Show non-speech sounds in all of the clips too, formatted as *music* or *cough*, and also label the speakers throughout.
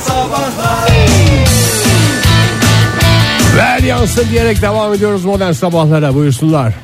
Speaker 1: Sabahlar
Speaker 2: Ver yansın diyerek devam ediyoruz modern sabahlara buyursunlar.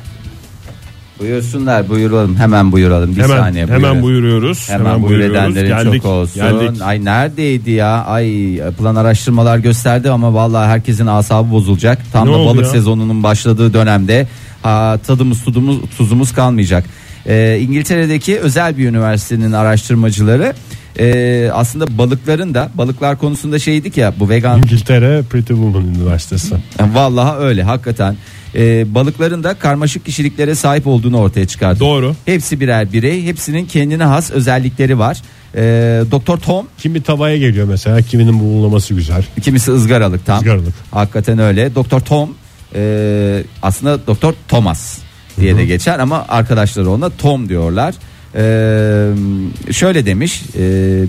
Speaker 3: Buyursunlar buyuralım hemen buyuralım bir
Speaker 4: Hemen,
Speaker 3: saniye
Speaker 4: hemen
Speaker 3: buyurun.
Speaker 4: buyuruyoruz.
Speaker 3: Hemen, buyur edenlerin
Speaker 4: Geldik,
Speaker 3: çok olsun.
Speaker 4: Geldik.
Speaker 3: Ay neredeydi ya? Ay yapılan araştırmalar gösterdi ama vallahi herkesin asabı bozulacak. Tam
Speaker 4: Ne
Speaker 3: da
Speaker 4: oldu
Speaker 3: balık
Speaker 4: ya?
Speaker 3: sezonunun başladığı dönemde ha, tadımız tuzumuz, tuzumuz kalmayacak. Ee, İngiltere'deki özel bir üniversitenin araştırmacıları e, aslında balıkların da balıklar konusunda şeydik ya bu vegan
Speaker 4: İngiltere Pretty Woman Üniversitesi.
Speaker 3: Vallahi öyle hakikaten. Ee, balıkların da karmaşık kişiliklere sahip olduğunu ortaya çıkardı.
Speaker 4: Doğru.
Speaker 3: Hepsi birer birey, hepsinin kendine has özellikleri var. Ee, Doktor Tom
Speaker 4: Kimi tavaya geliyor mesela kiminin buğulaması güzel.
Speaker 3: kimisi ızgaralık tam.
Speaker 4: Izgaralık.
Speaker 3: Hakikaten öyle. Doktor Tom e, aslında Doktor Thomas diye de geçer ama arkadaşları ona Tom diyorlar. Ee, şöyle demiş e,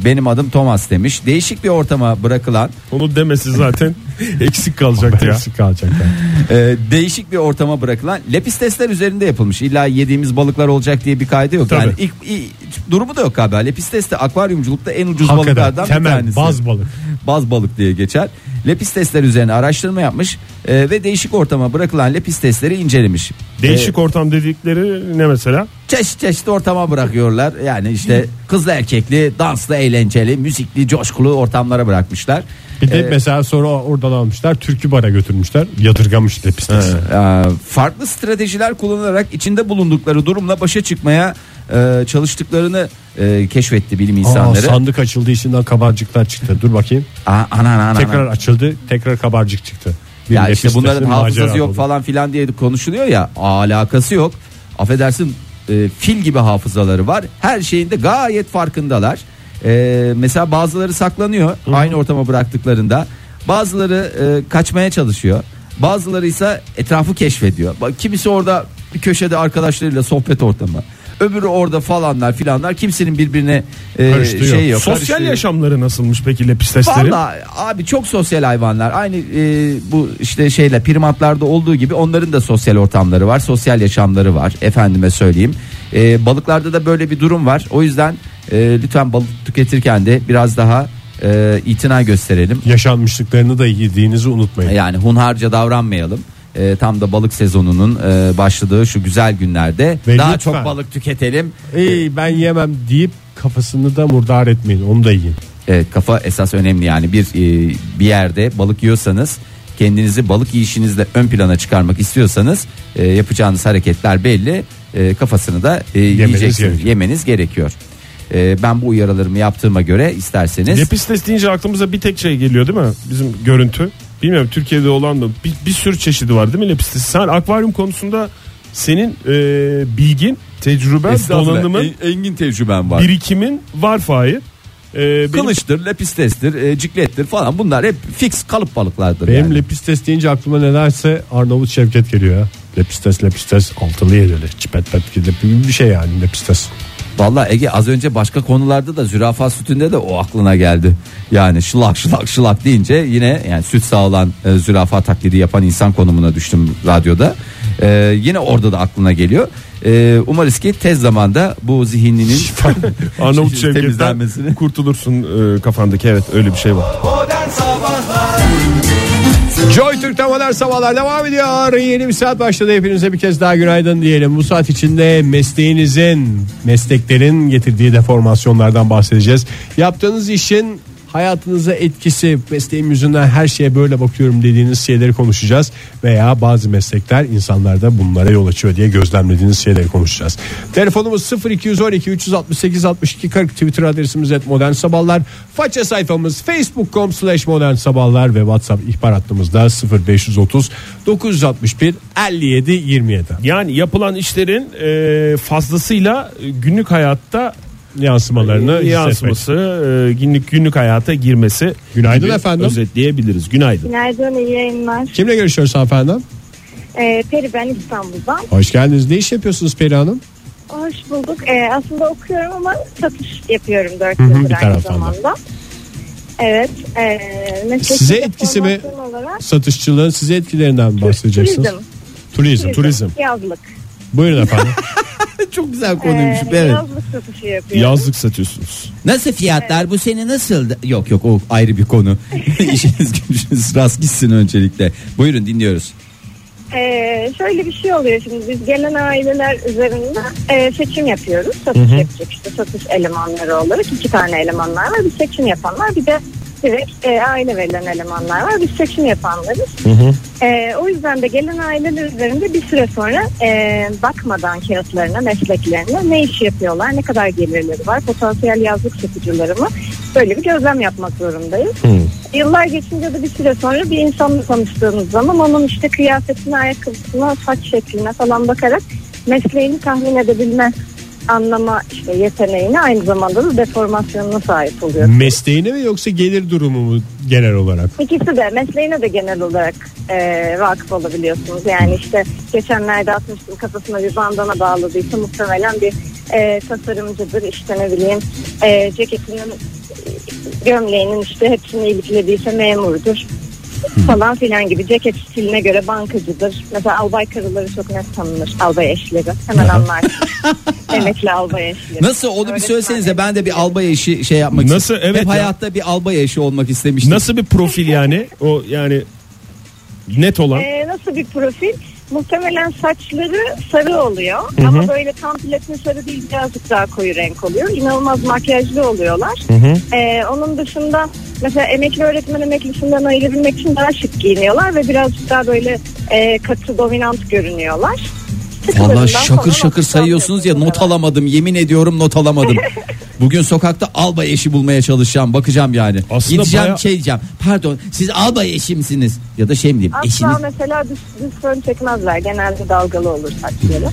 Speaker 3: benim adım Thomas demiş değişik bir ortama bırakılan
Speaker 4: Onu demesi *laughs* zaten eksik kalacaktı ya. Eksik kalacaktı.
Speaker 3: *laughs* Ee, değişik bir ortama bırakılan lepis testler üzerinde yapılmış. İlla yediğimiz balıklar olacak diye bir kaydı yok. Yani
Speaker 4: Tabii.
Speaker 3: ilk, ilk- durumu da yok galiba. Lepis testi akvaryumculukta en ucuz
Speaker 4: Hakikaten
Speaker 3: balıklardan bir
Speaker 4: temel
Speaker 3: tanesi.
Speaker 4: baz balık.
Speaker 3: Baz balık diye geçer. Lepis testler üzerine araştırma yapmış e, ve değişik ortama bırakılan lepis testleri incelemiş. Ee, E,
Speaker 4: Değişik ortam dedikleri ne mesela?
Speaker 3: Çeşit çeşit ortama bırakıyorlar. Yani işte kızlı erkekli, danslı, eğlenceli, müzikli, coşkulu ortamlara bırakmışlar.
Speaker 4: Bir
Speaker 3: Ee,
Speaker 4: de mesela sonra oradan almışlar türkü bara götürmüşler yadırgamış lepistesi.
Speaker 3: Ee, farklı stratejiler kullanarak içinde bulundukları durumla başa çıkmaya e, çalıştıklarını e, keşfetti bilim
Speaker 4: Aa,
Speaker 3: insanları.
Speaker 4: sandık açıldı içinden kabarcıklar çıktı dur bakayım.
Speaker 3: Aa, ana, ana, ana.
Speaker 4: Tekrar açıldı tekrar kabarcık çıktı. Bir
Speaker 3: ya işte
Speaker 4: lepistesi
Speaker 3: bunların
Speaker 4: macera
Speaker 3: hafızası yok
Speaker 4: oldu.
Speaker 3: falan filan diye konuşuluyor ya alakası yok. Affedersin e, fil gibi hafızaları var. Her şeyinde gayet farkındalar. E, mesela bazıları saklanıyor aynı ortama bıraktıklarında. Bazıları e, kaçmaya çalışıyor. Bazıları ise etrafı keşfediyor. Bak kimisi orada bir köşede arkadaşlarıyla sohbet ortamı. Öbürü orada falanlar filanlar kimsenin birbirine e,
Speaker 4: Karıştı yok.
Speaker 3: şey yok.
Speaker 5: Sosyal
Speaker 3: karıştı yok.
Speaker 5: yaşamları nasılmış peki lepisteslerin?
Speaker 3: Valla abi çok sosyal hayvanlar. Aynı e, bu işte şeyle primatlarda olduğu gibi onların da sosyal ortamları var, sosyal yaşamları var. Efendime söyleyeyim. E, balıklarda da böyle bir durum var. O yüzden e, lütfen balık tüketirken de biraz daha e, itina gösterelim.
Speaker 4: Yaşanmışlıklarını da yediğinizi unutmayın.
Speaker 3: Yani hunharca davranmayalım. E, tam da balık sezonunun e, başladığı şu güzel günlerde
Speaker 4: Ve
Speaker 3: daha
Speaker 4: lütfen-
Speaker 3: çok balık tüketelim.
Speaker 4: Ey ben yemem deyip kafasını da murdar etmeyin onu da yiyin.
Speaker 3: Evet E, kafa esas önemli yani bir e, bir yerde balık yiyorsanız kendinizi balık yiyişinizle ön plana çıkarmak istiyorsanız e, yapacağınız hareketler belli E, kafasını da e, yiyeceksiniz
Speaker 4: gerekiyor.
Speaker 3: yemeniz gerekiyor. E, ben bu uyarılarımı yaptığıma göre isterseniz
Speaker 5: Lepistes deyince aklımıza bir tek şey geliyor değil mi? Bizim görüntü. Bilmiyorum Türkiye'de olan da bir, bir sürü çeşidi var değil mi lepistes? Sen akvaryum konusunda senin e, bilgin, tecrüben,
Speaker 3: Estağfurullah,
Speaker 5: donanımın,
Speaker 3: en- e, engin tecrübem var.
Speaker 5: birikimin var Fahir. E, benim-
Speaker 3: Kılıçtır, lepistestir, e, ciklettir falan bunlar hep fix kalıp balıklardır.
Speaker 4: Benim
Speaker 3: yani.
Speaker 4: lepistes deyince aklıma nedense Arnavut Şevket geliyor ya. Lepistes lepistes altılı yedili çipet pet gidip bir şey yani lepistes.
Speaker 3: Vallahi Ege az önce başka konularda da zürafa sütünde de o aklına geldi. Yani şılak şılak şılak deyince yine yani süt sağlan e, zürafa taklidi yapan insan konumuna düştüm radyoda. E, yine orada da aklına geliyor. E, umarız ki tez zamanda bu zihninin
Speaker 5: *laughs* Arnavut
Speaker 3: *laughs*
Speaker 5: Şevket'ten
Speaker 3: Temizlenmesini.
Speaker 5: kurtulursun e, kafandaki evet öyle bir şey var.
Speaker 1: Modern Sabahlar
Speaker 4: Joy Türk'te modern sabahlar devam ediyor. Yeni bir saat başladı. Hepinize bir kez daha günaydın diyelim. Bu saat içinde mesleğinizin, mesleklerin getirdiği deformasyonlardan bahsedeceğiz. Yaptığınız işin hayatınıza etkisi, mesleğim yüzünden her şeye böyle bakıyorum dediğiniz şeyleri konuşacağız. Veya bazı meslekler insanlarda bunlara yol açıyor diye gözlemlediğiniz şeyleri konuşacağız. Telefonumuz 0212 368 62 40 Twitter adresimiz et modern sabahlar. Faça sayfamız facebook.com slash modern sabahlar ve whatsapp ihbar hattımızda 0530 961 57 27.
Speaker 5: Yani yapılan işlerin e, fazlasıyla e, günlük hayatta
Speaker 4: Yansımalarını yansıması.
Speaker 5: *laughs* yansıması, e, günlük günlük hayata girmesi.
Speaker 4: Günaydın
Speaker 5: gibi
Speaker 4: efendim.
Speaker 5: Özetleyebiliriz. Günaydın.
Speaker 6: Günaydın, iyi yayınlar.
Speaker 4: Kimle görüşüyoruz efendim?
Speaker 6: Ee, Peri ben İstanbul'dan.
Speaker 4: Hoş geldiniz. Ne iş yapıyorsunuz Peri Hanım?
Speaker 6: Hoş bulduk. Ee, aslında okuyorum ama satış yapıyorum 4
Speaker 4: hı,
Speaker 6: yıldır
Speaker 4: bir
Speaker 6: aynı
Speaker 4: taraftan da.
Speaker 6: zamanda. Evet. E, mesleki
Speaker 4: Size etkisi mi-
Speaker 6: deformasyon Olarak,
Speaker 4: Satışçılığın size etkilerinden bahsedeceksiniz.
Speaker 6: turizm,
Speaker 4: Turizm.
Speaker 6: turizm. Yazlık.
Speaker 4: Buyurun efendim.
Speaker 3: *laughs* Çok güzel konuymuş.
Speaker 6: Ee,
Speaker 3: Evet.
Speaker 6: Yazlık satışı yapıyorum.
Speaker 5: Yazlık satıyorsunuz.
Speaker 3: Nasıl fiyatlar bu sene nasıldı? Yok yok o ayrı bir konu. İşiniz gücünüz rast gitsin öncelikle. Buyurun dinliyoruz.
Speaker 6: Ee, şöyle bir şey oluyor şimdi biz gelen aileler üzerinden e, seçim yapıyoruz. Satış yapacak işte satış elemanları olarak iki tane elemanlar var. Bir seçim yapanlar bir de direkt e, aile verilen elemanlar var. Biz seçim yapanlarız. E, o yüzden de gelen aileler üzerinde bir süre sonra e, bakmadan kağıtlarına, mesleklerine ne iş yapıyorlar, ne kadar gelirleri var, potansiyel yazlık satıcıları mı böyle bir gözlem yapmak zorundayız. Yıllar geçince de bir süre sonra bir insanla tanıştığınız zaman onun işte kıyafetine, ayakkabısına, saç şekline falan bakarak mesleğini tahmin edebilme anlama işte yeteneğine aynı zamanda da deformasyonuna sahip oluyor.
Speaker 4: Mesleğine mi yoksa gelir durumu mu genel olarak?
Speaker 6: *laughs* İkisi de mesleğine de genel olarak e, vakıf olabiliyorsunuz. Yani işte geçenlerde atmıştım kafasına bir bandana bağladıysa muhtemelen bir e, tasarımcıdır. İşte ne bileyim e, ceketinin e, gömleğinin işte hepsini iliklediyse memurdur
Speaker 3: Hmm.
Speaker 6: falan filan gibi ceket stiline göre bankacıdır. Mesela albay karıları çok net tanınır. Albay eşleri. Hemen anlar.
Speaker 3: *laughs*
Speaker 6: Emekli albay eşleri.
Speaker 3: Nasıl onu bir
Speaker 6: Öğretmen
Speaker 3: söylesenize ben de bir albay eşi şey yapmak
Speaker 5: Nasıl?
Speaker 3: istiyorum.
Speaker 5: Evet
Speaker 3: Hep
Speaker 5: ya.
Speaker 3: hayatta bir albay eşi olmak istemiştim.
Speaker 5: Nasıl bir profil yani? O yani net olan.
Speaker 6: Ee, nasıl bir profil? Muhtemelen saçları sarı oluyor ama böyle tam platin sarı değil birazcık daha koyu renk oluyor. İnanılmaz makyajlı oluyorlar. Ee, onun dışında mesela emekli öğretmen emeklisinden ayırabilmek için daha şık giyiniyorlar ve birazcık daha böyle e, katı dominant görünüyorlar.
Speaker 3: Valla
Speaker 6: Sıkılarından falan
Speaker 3: şakır şakır
Speaker 6: alışkanlık
Speaker 3: sayıyorsunuz ya not
Speaker 6: yapıyorlar.
Speaker 3: alamadım yemin ediyorum not alamadım. Bugün sokakta albay eşi bulmaya çalışacağım bakacağım yani.
Speaker 5: Aslında
Speaker 3: Gideceğim
Speaker 5: baya-
Speaker 3: şey diyeceğim pardon siz albay eşimsiniz ya da şey mi diyeyim
Speaker 6: Asla
Speaker 3: eşiniz.
Speaker 6: mesela düz, düz fön çekmezler. Genelde dalgalı olur saçları.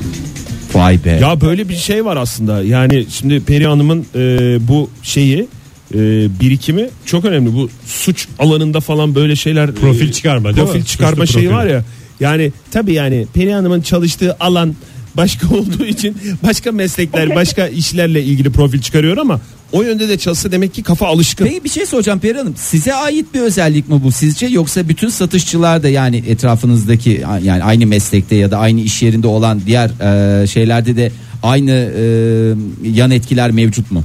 Speaker 3: Vay be.
Speaker 5: Ya böyle bir şey var aslında. Yani şimdi Peri Hanım'ın e, bu şeyi e, birikimi çok önemli. Bu suç alanında falan böyle şeyler e,
Speaker 4: Profil çıkarma, değil
Speaker 5: Profil
Speaker 4: mi?
Speaker 5: çıkarma
Speaker 4: Suçlu
Speaker 5: şeyi
Speaker 4: profili.
Speaker 5: var ya. Yani tabii yani Peri Hanım'ın çalıştığı alan başka *laughs* olduğu için başka meslekler, başka işlerle ilgili profil çıkarıyor ama o yönde de çalışsa demek ki kafa alışkın.
Speaker 3: Peki bir şey soracağım Peri Hanım. Size ait bir özellik mi bu sizce yoksa bütün satışçılar da yani etrafınızdaki yani aynı meslekte ya da aynı iş yerinde olan diğer e, şeylerde de aynı e, yan etkiler mevcut mu?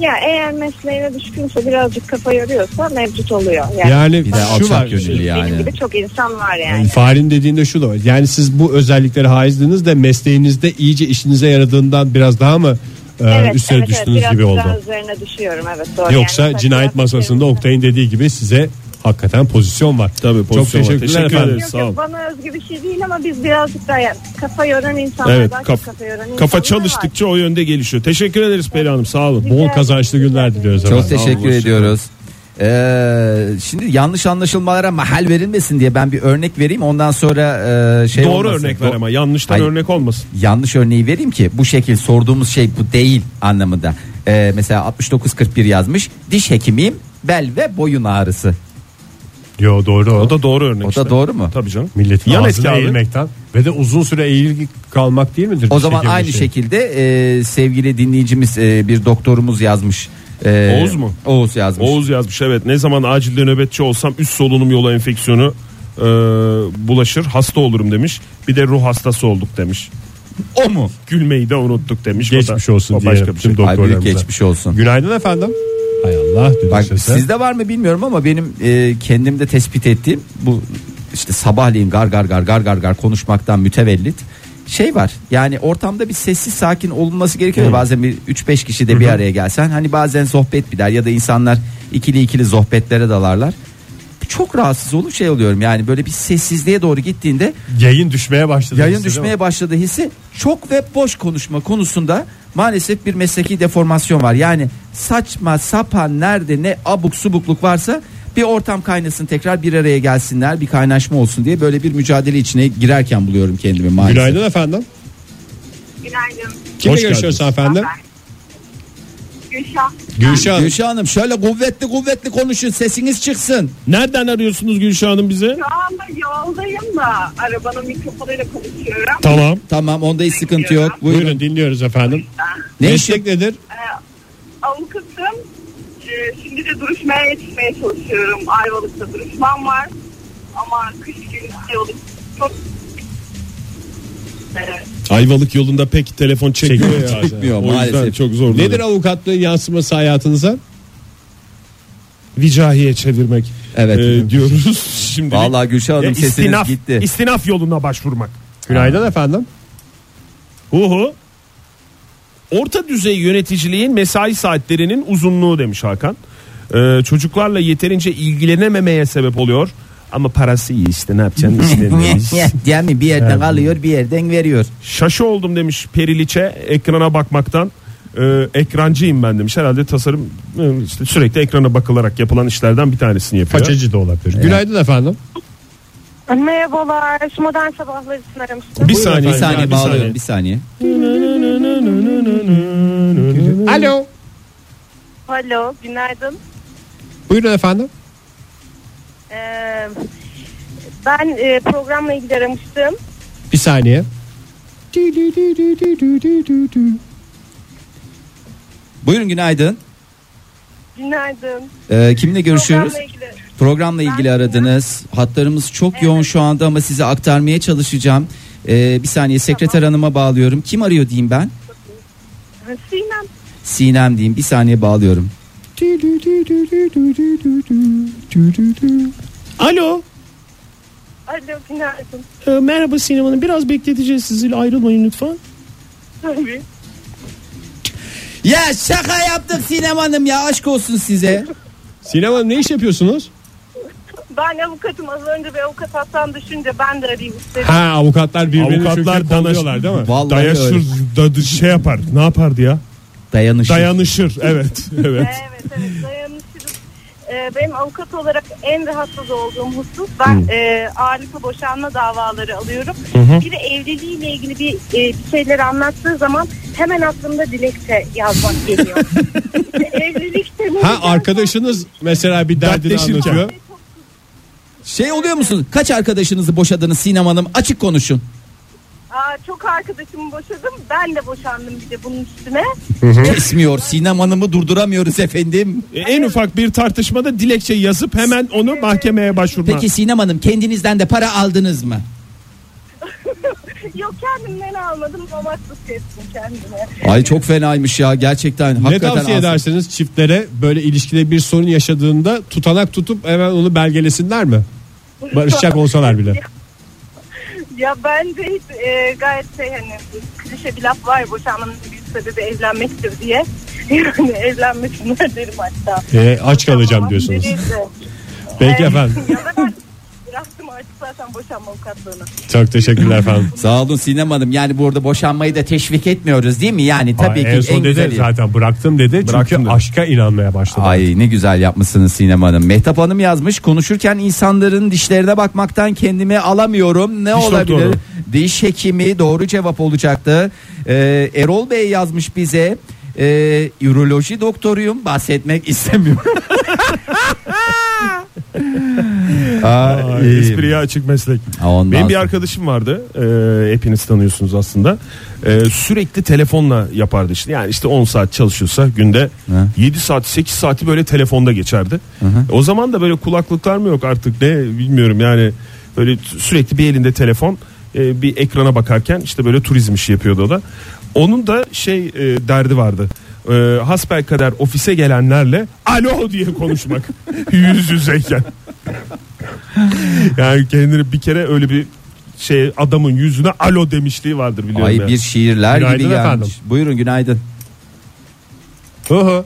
Speaker 6: Ya eğer mesleğine düşkünse birazcık kafa yoruyorsa mevcut oluyor. Yani
Speaker 4: Yani
Speaker 3: Bir de
Speaker 4: şu var. şey.
Speaker 3: alçak gönüllü
Speaker 6: Benim
Speaker 3: yani.
Speaker 6: gibi çok insan var yani.
Speaker 4: Yani e, Fahri'nin dediğinde şu da var. Yani siz bu özelliklere haizdiniz de mesleğinizde iyice işinize yaradığından biraz daha mı e, üstüne
Speaker 6: evet,
Speaker 4: düştünüz
Speaker 6: biraz
Speaker 4: gibi
Speaker 6: daha
Speaker 4: oldu?
Speaker 6: üzerine düşüyorum evet doğru.
Speaker 4: Yoksa
Speaker 6: Yani mesela
Speaker 4: cinayet
Speaker 6: biraz-
Speaker 4: masasında Oktay'ın dediği gibi size hakikaten pozisyon var.
Speaker 5: Tabii, pozisyon var.
Speaker 4: Çok teşekkürler
Speaker 5: Teşekkür
Speaker 4: efendim.
Speaker 5: ederiz.
Speaker 6: Yok
Speaker 5: Sağ ol.
Speaker 6: yok bana özgü bir şey değil ama biz birazcık daha yani kafa yoran insanlar
Speaker 5: Evet,
Speaker 6: daha
Speaker 5: kaf-
Speaker 6: çok kafa yoran insanlar
Speaker 5: Kafa
Speaker 6: var.
Speaker 5: çalıştıkça o yönde gelişiyor. Teşekkür ederiz Peri Hanım. Sağ olun.
Speaker 4: Bol kazançlı günler diliyoruz.
Speaker 3: Çok
Speaker 4: efendim.
Speaker 3: teşekkür ediyoruz. Ee, şimdi yanlış anlaşılmalara mahal verilmesin diye ben bir örnek vereyim ondan sonra e, şey
Speaker 5: Doğru
Speaker 3: olmasın.
Speaker 5: örnek ver
Speaker 3: Do-
Speaker 5: ama yanlıştan
Speaker 3: Hayır.
Speaker 5: örnek olmasın.
Speaker 3: yanlış örneği vereyim ki bu şekil sorduğumuz şey bu değil anlamında. Ee, mesela 6941 yazmış. Diş hekimiyim. Bel ve boyun ağrısı.
Speaker 4: Yo doğru o.
Speaker 5: O da doğru örnek.
Speaker 3: O da
Speaker 5: işte.
Speaker 3: doğru mu?
Speaker 5: Tabii canım.
Speaker 4: Milletin
Speaker 5: Yan etki
Speaker 4: ağzına
Speaker 5: abi.
Speaker 4: eğilmekten ve de uzun süre eğil kalmak değil midir?
Speaker 3: O
Speaker 4: bir
Speaker 3: zaman
Speaker 4: şekilde
Speaker 3: aynı
Speaker 4: şey?
Speaker 3: şekilde e, sevgili dinleyicimiz e, bir doktorumuz yazmış. E,
Speaker 5: Oğuz mu?
Speaker 3: Oğuz yazmış.
Speaker 5: Oğuz yazmış evet ne zaman acilde nöbetçi olsam üst solunum yolu enfeksiyonu e, bulaşır hasta olurum demiş. Bir de ruh hastası olduk demiş.
Speaker 3: O mu?
Speaker 5: Gülmeyi de unuttuk demiş. O da-
Speaker 4: Geçmiş olsun
Speaker 5: o
Speaker 4: diyelim
Speaker 5: başka bir şey.
Speaker 4: tüm
Speaker 3: Ay büyük
Speaker 4: doktorlarımıza.
Speaker 3: geçmiş olsun.
Speaker 4: Günaydın efendim. Hay Allah. düdük
Speaker 3: Bak
Speaker 4: sesi.
Speaker 3: sizde var mı bilmiyorum ama benim e, kendimde tespit ettiğim bu işte sabahleyin gar gar gar gar gar gar konuşmaktan mütevellit şey var. Yani ortamda bir sessiz sakin olunması gerekiyor. ya. Bazen bir 3-5 kişi de bir araya gelsen hani bazen sohbet biter ya da insanlar ikili ikili sohbetlere dalarlar. Çok rahatsız olup şey oluyorum yani böyle bir sessizliğe doğru gittiğinde
Speaker 4: Yayın düşmeye başladı.
Speaker 3: yayın
Speaker 4: Size
Speaker 3: düşmeye başladığı hissi çok ve boş konuşma konusunda maalesef bir mesleki deformasyon var. Yani saçma sapan nerede ne abuk subukluk varsa bir ortam kaynasın tekrar bir araya gelsinler bir kaynaşma olsun diye böyle bir mücadele içine girerken buluyorum kendimi
Speaker 4: bak.
Speaker 3: maalesef.
Speaker 4: Günaydın efendim.
Speaker 6: Günaydın.
Speaker 4: Kimle
Speaker 5: Hoş
Speaker 4: görüşüyoruz
Speaker 5: geldiniz.
Speaker 4: efendim?
Speaker 6: Gülşah.
Speaker 4: Gülşah Hanım.
Speaker 3: Gülşah Hanım şöyle kuvvetli kuvvetli konuşun sesiniz çıksın.
Speaker 5: Nereden arıyorsunuz Gülşah Hanım bize?
Speaker 6: Şu anda yoldayım da arabanın mikrofonuyla konuşuyorum.
Speaker 5: Tamam.
Speaker 3: Tamam onda hiç sıkıntı yok. Buyurun.
Speaker 4: Buyurun dinliyoruz efendim.
Speaker 3: Ne iş
Speaker 4: Meslek nedir?
Speaker 6: Avukatım. e, şimdi de duruşmaya yetişmeye çalışıyorum. Ayvalık'ta duruşmam var. Ama kış günü Ayvalık çok
Speaker 5: Ayvalık yolunda pek telefon çekmiyor,
Speaker 4: Çekmiyor
Speaker 5: ya.
Speaker 3: çekmiyor
Speaker 5: o yüzden
Speaker 3: maalesef.
Speaker 5: çok zor.
Speaker 4: Nedir avukatlığın yansıması hayatınıza?
Speaker 5: Vicahiye çevirmek.
Speaker 3: Evet.
Speaker 5: Ee, diyoruz *laughs* şimdi.
Speaker 3: Vallahi Gülşah Hanım sesiniz
Speaker 5: istinaf,
Speaker 3: gitti.
Speaker 5: istinaf yoluna başvurmak.
Speaker 4: Günaydın efendim.
Speaker 5: Uhu. Orta düzey yöneticiliğin mesai saatlerinin uzunluğu demiş Hakan. Ee, çocuklarla yeterince ilgilenememeye sebep oluyor. Ama parası iyi işte ne yapacaksın istemiyoruz.
Speaker 3: *laughs* yani bir yerden alıyor bir yerden veriyor.
Speaker 5: Şaşı oldum demiş Periliçe ekrana bakmaktan. Ee, ekrancıyım ben demiş. Herhalde tasarım e, işte sürekli ekrana bakılarak yapılan işlerden bir tanesini yapıyor.
Speaker 4: Façacı da olabilir. Günaydın efendim.
Speaker 6: Merhabalar, modern sabahlar için
Speaker 5: Bir
Speaker 6: aramıştım.
Speaker 3: Bir
Speaker 5: saniye,
Speaker 3: saniye
Speaker 5: bir
Speaker 3: bağlıyorum
Speaker 5: saniye.
Speaker 3: bir saniye.
Speaker 4: Alo.
Speaker 6: Alo, günaydın.
Speaker 4: Buyurun efendim.
Speaker 6: Ee, ben e, programla ilgili aramıştım.
Speaker 4: Bir saniye.
Speaker 3: Buyurun günaydın.
Speaker 6: Günaydın.
Speaker 3: Ee, kimle görüşüyoruz?
Speaker 6: Programla ilgili.
Speaker 3: Programla ilgili aradınız. Hatlarımız çok yoğun şu anda ama size aktarmaya çalışacağım. Ee, bir saniye sekreter hanıma bağlıyorum. Kim arıyor diyeyim ben?
Speaker 6: Ha, Sinem.
Speaker 3: Sinem diyeyim. Bir saniye bağlıyorum.
Speaker 5: Alo.
Speaker 6: Alo, günaydın.
Speaker 5: Ee, merhaba sinemanın biraz bekleteceğiz sizi ayrılmayın lütfen.
Speaker 6: Tabii.
Speaker 3: Ya şaka yaptık Sinem Hanım ya aşk olsun size.
Speaker 4: Sinem Hanım ne iş yapıyorsunuz?
Speaker 6: Ben avukatım. Az önce bir avukat hattan düşünce ben de arayayım istedim.
Speaker 4: Ha avukatlar birbirini
Speaker 5: Avukatlar
Speaker 4: danışıyorlar
Speaker 5: danaşıyorlar
Speaker 4: değil mi?
Speaker 3: Vallahi öyle.
Speaker 5: Dayaşır, da, şey yapar. Ne yapardı ya?
Speaker 3: Dayanışır.
Speaker 5: Dayanışır. Evet,
Speaker 4: *laughs*
Speaker 5: evet.
Speaker 6: Evet, evet. Dayanışırız. Ee, benim avukat olarak en rahatsız olduğum husus ben e, ağırlıklı boşanma davaları alıyorum. Biri evliliğiyle ilgili bir, e, bir şeyler anlattığı zaman hemen aklımda dilekçe
Speaker 4: *laughs*
Speaker 6: yazmak geliyor. *laughs* İşte Evlilik
Speaker 4: Ha arkadaşınız mesela bir derdini
Speaker 5: Dertleşirken.
Speaker 4: anlatıyor.
Speaker 3: Şey oluyor musun? Kaç arkadaşınızı boşadınız Sinem Hanım? Açık konuşun.
Speaker 6: Aa, çok arkadaşımı boşadım. Ben de boşandım bir de bunun üstüne.
Speaker 3: Kesmiyor. Sinem Hanım'ı durduramıyoruz efendim.
Speaker 5: E, en ufak bir tartışmada dilekçe yazıp hemen onu mahkemeye başvurma.
Speaker 3: Peki Sinem Hanım kendinizden de para aldınız mı?
Speaker 6: Yok kendimden almadım. Domatsız kestim kendime.
Speaker 3: Ay çok fenaymış ya gerçekten.
Speaker 4: Ne tavsiye
Speaker 3: edersin?
Speaker 4: edersiniz çiftlere böyle ilişkide bir sorun yaşadığında tutanak tutup hemen onu belgelesinler mi? Barışacak olsalar bile.
Speaker 6: Ya bence hiç e, gayet şey hani klişe bir laf var ya, boşanmanın büyük sebebi evlenmektir diye. *laughs* Yani evlenmesinler derim hatta.
Speaker 4: E, aç kalacağım diyorsunuz. *laughs* Peki
Speaker 6: Evet.
Speaker 4: efendim.
Speaker 6: *laughs* ya da ben bıraktım artık zaten boşanma avukatlığını.
Speaker 4: Çok teşekkürler efendim.
Speaker 3: Sağ olun Sinem Hanım. Yani burada boşanmayı da teşvik etmiyoruz değil mi? Yani tabii
Speaker 4: en
Speaker 3: ki
Speaker 4: son
Speaker 3: en
Speaker 4: dedi
Speaker 3: güzeli.
Speaker 4: zaten bıraktım dedi çünkü
Speaker 5: Bıraktım dedi.
Speaker 4: aşka inanmaya başladı.
Speaker 3: Ay ne güzel yapmışsınız Sinem Hanım. Mehtap Hanım yazmış. Konuşurken insanların dişlerine bakmaktan kendimi alamıyorum. Ne
Speaker 5: Diş
Speaker 3: olabilir?
Speaker 5: doktoru.
Speaker 3: Diş hekimi doğru cevap olacaktı. Ee, Erol Bey yazmış bize. Ee, üroloji doktoruyum. Bahsetmek *laughs* istemiyorum. Aa,
Speaker 5: Aa,
Speaker 3: iyi.
Speaker 5: espriye açık meslek.
Speaker 3: Ondan
Speaker 5: Benim bir
Speaker 3: sonra-
Speaker 5: arkadaşım vardı. Ee, hepiniz tanıyorsunuz aslında. Ee, sürekli telefonla yapardı işte. Yani işte 10 saat çalışıyorsa günde
Speaker 3: Hı.
Speaker 5: 7 saat 8 saati böyle telefonda geçerdi. O zaman da böyle kulaklıklar mı yok artık ne bilmiyorum yani. Böyle t- sürekli bir elinde telefon e, bir ekrana bakarken işte böyle turizm işi yapıyordu o da. Onun da şey e, derdi vardı. E, hasbelkader ofise gelenlerle alo diye
Speaker 3: *laughs*
Speaker 5: konuşmak yüz yüzeyken. Yani kendini bir kere öyle bir şey adamın yüzüne alo demişliği vardır biliyorum.
Speaker 3: Ay
Speaker 5: yani.
Speaker 3: bir şiirler gibi
Speaker 4: Günaydın
Speaker 3: gelmiş.
Speaker 4: efendim.
Speaker 3: Buyurun günaydın.
Speaker 4: Hı hı.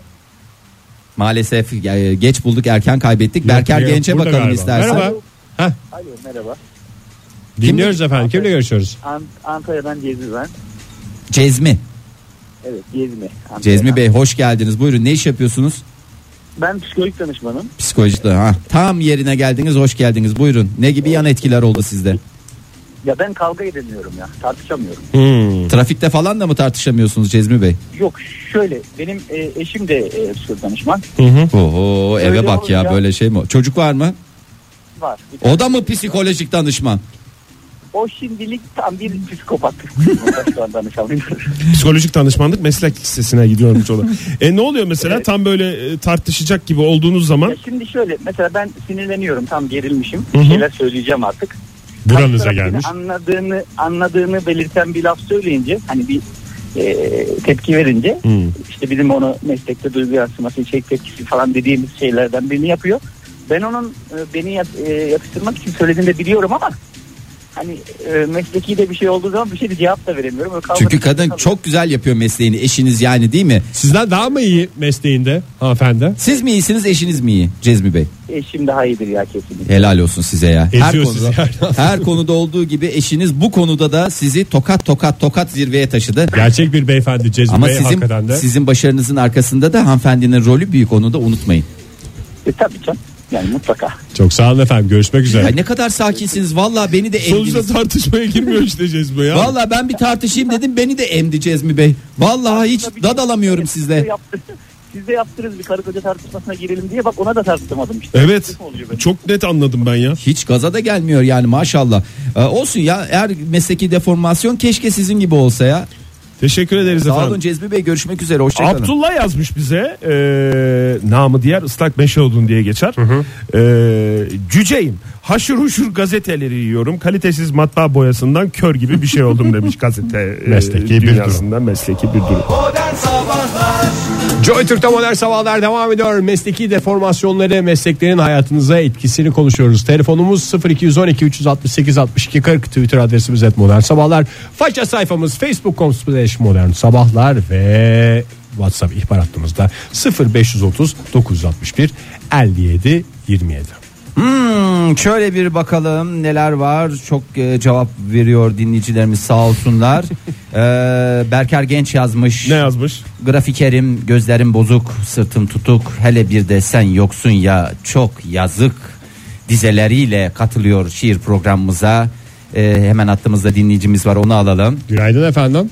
Speaker 3: Maalesef e, geç bulduk erken kaybettik. Berker
Speaker 4: Yok,
Speaker 3: Genç'e
Speaker 4: burada
Speaker 3: bakalım
Speaker 4: galiba.
Speaker 3: istersen.
Speaker 4: Merhaba.
Speaker 7: Alo merhaba.
Speaker 4: Dinliyoruz efendim. Kimle görüşüyoruz?
Speaker 7: Ant- Antalya'dan Cezmi ben.
Speaker 3: Cezmi.
Speaker 7: Evet Cezmi. Antalya'dan.
Speaker 3: Cezmi Bey hoş geldiniz. Buyurun ne iş yapıyorsunuz?
Speaker 7: Ben psikolojik danışmanım.
Speaker 3: Psikolojide. Ha, tam yerine geldiniz. Hoş geldiniz. Buyurun. Ne gibi yan etkiler oldu sizde?
Speaker 7: Ya ben kavga edemiyorum ya. Tartışamıyorum.
Speaker 3: Trafikte falan da mı tartışamıyorsunuz Cezmi Bey?
Speaker 7: Yok şöyle benim e, eşim de e, psikolojik danışman.
Speaker 3: Oho eve
Speaker 7: Öyle
Speaker 3: bak ya
Speaker 7: olunca-
Speaker 3: böyle şey mi? Çocuk var mı?
Speaker 7: Var. Bir tane-
Speaker 3: O da mı psikolojik danışman?
Speaker 7: O şimdilik tam bir psikopat. *laughs* Şu
Speaker 3: *laughs*
Speaker 7: an danışamıyorum.
Speaker 5: Psikolojik danışmanlık meslek lisesine gidiyormuş o da. e ne oluyor mesela
Speaker 7: Evet.
Speaker 5: tam böyle e, tartışacak gibi olduğunuz zaman
Speaker 7: Ya şimdi şöyle mesela ben sinirleniyorum tam gerilmişim. Bir şeyler söyleyeceğim artık.
Speaker 4: Buranıza
Speaker 7: tarafın
Speaker 4: gelmiş.
Speaker 7: Anladığını anladığını belirten bir laf söyleyince hani bir e, tepki verince işte bizim onu meslekte duygu yansıması, şey tepkisi falan dediğimiz şeylerden birini yapıyor. Ben onun e, beni yat, e, yatıştırmak için söylediğini de biliyorum ama hani e, mesleki de bir şey olduğu zaman bir şey de cevap da veremiyorum. Böyle kavganın
Speaker 3: Çünkü kadın
Speaker 7: içinde kalıyorum.
Speaker 3: çok güzel yapıyor mesleğini eşiniz yani değil mi?
Speaker 4: Sizden daha mı iyi mesleğinde hanımefendi?
Speaker 3: Siz mi iyisiniz eşiniz mi iyi Cezmi Bey?
Speaker 7: eşim daha iyidir ya kesinlikle.
Speaker 3: Helal olsun size ya. her
Speaker 4: Eziyor
Speaker 3: konuda,
Speaker 4: sizi yani.
Speaker 3: *laughs* her konuda olduğu gibi eşiniz bu konuda da sizi tokat tokat tokat zirveye taşıdı.
Speaker 4: Gerçek bir beyefendi Cezmi
Speaker 3: Ama
Speaker 4: Bey
Speaker 3: sizin
Speaker 4: hakikaten de.
Speaker 3: sizin başarınızın arkasında da hanımefendinin rolü büyük onu da unutmayın.
Speaker 7: E, tabii canım. Yani mutlaka.
Speaker 4: Çok sağ olun efendim görüşmek üzere.
Speaker 3: Ya ne kadar sakinsiniz. Vallahi beni de
Speaker 5: Sonuçta
Speaker 3: emdiniz.
Speaker 5: tartışmaya girmiyor işte Cezmi ya.
Speaker 3: Vallahi ben bir tartışayım dedim beni de emdi Cezmi Bey. Vallahi hiç dadalamıyorum sizle.
Speaker 7: Siz de yaptınız bir karı koca tartışmasına girelim diye bak ona da tartışamadım işte.
Speaker 5: Evet. Çok net anladım ben ya.
Speaker 3: Hiç gaza da gelmiyor yani maşallah. Ee, olsun ya eğer mesleki deformasyon keşke sizin gibi olsa ya.
Speaker 5: Teşekkür ederiz
Speaker 3: Sağ
Speaker 5: efendim.
Speaker 3: olun Cezmi Bey görüşmek üzere hoşçakalın.
Speaker 5: Abdullah yazmış bize e, namı diğer ıslak meşe odun diye geçer. E, cüceyim haşır huşur gazeteleri yiyorum kalitesiz matbaa boyasından kör gibi bir şey oldum *laughs* demiş gazete e,
Speaker 4: Mesleki bir durum.
Speaker 5: dünyasında mesleki bir durum.
Speaker 1: Modern Sabahlar
Speaker 4: Joy Türk'te modern sabahlar devam ediyor. Mesleki deformasyonları mesleklerin hayatınıza etkisini konuşuyoruz. Telefonumuz 0212 368 62 40 Twitter adresimiz et modern sabahlar. Faça sayfamız facebook.com slash modern sabahlar ve WhatsApp ihbar hattımızda 0530 961 57 27.
Speaker 3: Hmm, şöyle bir bakalım neler var. Çok e, cevap veriyor dinleyicilerimiz sağ
Speaker 5: *laughs*
Speaker 3: olsunlar. Ee, Berker Genç yazmış.
Speaker 5: Ne yazmış?
Speaker 3: Grafikerim, gözlerim bozuk, sırtım tutuk. Hele bir de sen yoksun ya çok yazık. Dizeleriyle katılıyor şiir programımıza. Ee, hemen hattımızda dinleyicimiz var onu alalım.
Speaker 4: Günaydın efendim.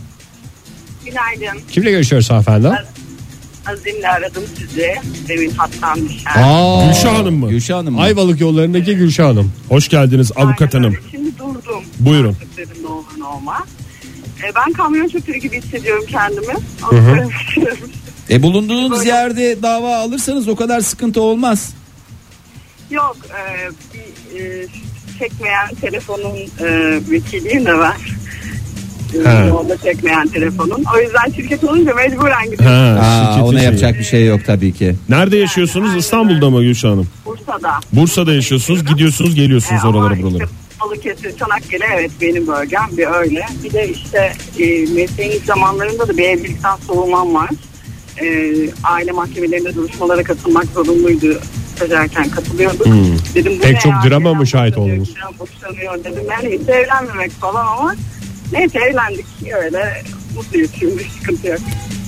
Speaker 8: Günaydın.
Speaker 4: Kimle görüşüyoruz hanımefendi?
Speaker 8: Azim'le aradım sizi. Demin hattan düşen.
Speaker 4: Aa,
Speaker 5: Gülşah Hanım mı?
Speaker 3: Gülşah Hanım mı?
Speaker 4: Ayvalık yollarındaki Gülşah Hanım.
Speaker 5: Hoş geldiniz avukat
Speaker 8: Aynen
Speaker 5: hanım.
Speaker 8: öyle. Şimdi durdum.
Speaker 5: Buyurun.
Speaker 8: Dedim ne olur ne olmaz. E, ben kamyon şoförü gibi hissediyorum kendimi. *laughs* Onu söylüyorum.
Speaker 3: E bulunduğunuz
Speaker 8: Böyle.
Speaker 3: yerde dava alırsanız o kadar sıkıntı olmaz.
Speaker 8: Yok e, bir e, çekmeyen telefonun e, vekiliyim de ben.
Speaker 5: Ha.
Speaker 8: Yolda çekmeyen telefonun. O yüzden şirket olunca mecburen gidiyorum.
Speaker 5: Ha,
Speaker 3: Aa,
Speaker 5: şirketin
Speaker 3: ona
Speaker 5: şeyi.
Speaker 3: yapacak bir şey yok tabii ki.
Speaker 5: Nerede yaşıyorsunuz?
Speaker 8: Aynen.
Speaker 5: İstanbul'da mı Gülşah Hanım?
Speaker 8: Bursa'da.
Speaker 5: Buradan yaşıyorsunuz, gidiyorsunuz, geliyorsunuz
Speaker 8: ama
Speaker 5: oralara, buralara.
Speaker 8: Işte, Balıkesir, Çanakkale evet benim bölgem bir öyle. Bir de işte e, mesleğin ilk zamanlarında da bir evlilikten soğumam var. E, aile mahkemelerinde duruşmalara katılmak zorunluydu. Stajyerken katılıyorduk. Dedim, bu
Speaker 4: Hmm. Pek
Speaker 8: ne
Speaker 4: çok
Speaker 8: ya?
Speaker 4: drama mı
Speaker 8: Neden
Speaker 4: şahit
Speaker 8: boşanıyor,
Speaker 4: oldunuz?
Speaker 8: neden boşanıyor dedim. Yani hiç evlenmemek falan ama neyse evlendik öyle mutluyuz şimdi sıkıntı yok.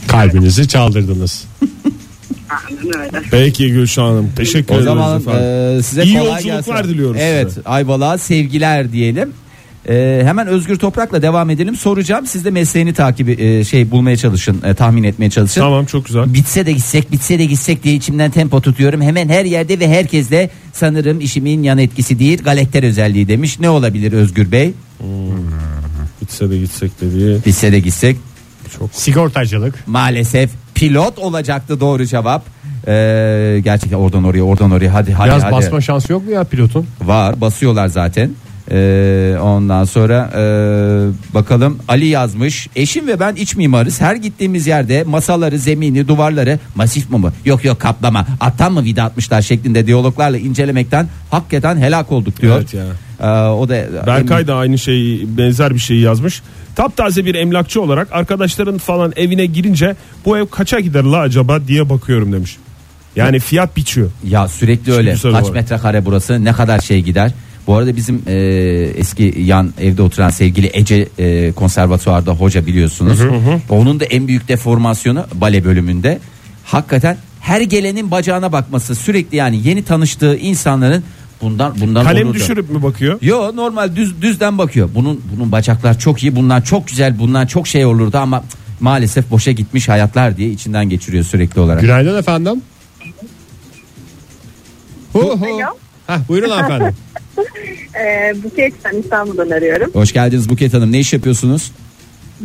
Speaker 4: Kalbinizi çaldırdınız.
Speaker 8: Aynen öyle.
Speaker 5: Peki Gülşah Hanım. Teşekkür
Speaker 3: O
Speaker 5: ederiz
Speaker 3: zaman
Speaker 5: efendim.
Speaker 3: e, size
Speaker 5: İyi
Speaker 3: kolay
Speaker 5: yolculuklar
Speaker 3: gelsin.
Speaker 5: diliyoruz
Speaker 3: Evet
Speaker 5: size.
Speaker 3: Ayvalık'a sevgiler diyelim. E, hemen Özgür Toprak'la devam edelim. Soracağım siz de mesleğini takibi e, şey bulmaya çalışın e, tahmin etmeye çalışın.
Speaker 5: Tamam çok güzel.
Speaker 3: Bitse de gitsek bitse de gitsek diye içimden tempo tutuyorum. Hemen her yerde ve herkesle sanırım işimin yan etkisi değil galakter özelliği demiş. Ne olabilir Özgür Bey?
Speaker 5: Bitse de gitsek de diye.
Speaker 3: Bitse de gitsek
Speaker 4: Sigortacılık.
Speaker 3: maalesef pilot olacaktı doğru cevap. E, gerçekten oradan oraya oradan oraya hadi hadi
Speaker 4: Biraz
Speaker 3: hadi.
Speaker 4: basma şansı yok mu ya pilotun?
Speaker 3: Var basıyorlar zaten. Ee, ondan sonra ee, bakalım Ali yazmış. Eşim ve ben iç mimarız. Her gittiğimiz yerde masaları, zemini, duvarları masif mi mı? Yok yok kaplama. Attan mı vida atmışlar şeklinde diyaloglarla incelemekten hakikaten helak olduk diyor.
Speaker 5: Evet ya.
Speaker 3: Ee, o da
Speaker 5: Berkay da aynı şeyi benzer bir şeyi yazmış. Taptaze bir emlakçı olarak arkadaşların falan evine girince bu ev kaça gider la acaba diye bakıyorum demiş. Yani fiyat biçiyor.
Speaker 3: Ya sürekli
Speaker 5: Şimdi
Speaker 3: öyle.
Speaker 5: güzel
Speaker 3: Kaç
Speaker 5: var.
Speaker 3: metrekare burası? Ne kadar şey gider? Bu arada bizim e, eski yan evde oturan sevgili Ece e, konservatuvarda hoca biliyorsunuz. Onun da en büyük deformasyonu bale bölümünde. Hakikaten her gelenin bacağına bakması sürekli yani yeni tanıştığı insanların bundan bundan
Speaker 5: Kalem
Speaker 3: olur da-
Speaker 5: düşürüp mü bakıyor?
Speaker 3: Yo normal düz düzden bakıyor. Bunun bunun bacaklar çok iyi. Bunlar çok güzel. Bundan çok şey olurdu ama cık, maalesef boşa gitmiş hayatlar diye içinden geçiriyor sürekli olarak.
Speaker 4: Günaydın efendim. Hu hu. Heh, buyurun
Speaker 6: *laughs*
Speaker 4: efendim.
Speaker 6: Ee, Buket'ten İstanbul'dan arıyorum.
Speaker 3: Hoş geldiniz Buket Hanım. Ne iş yapıyorsunuz?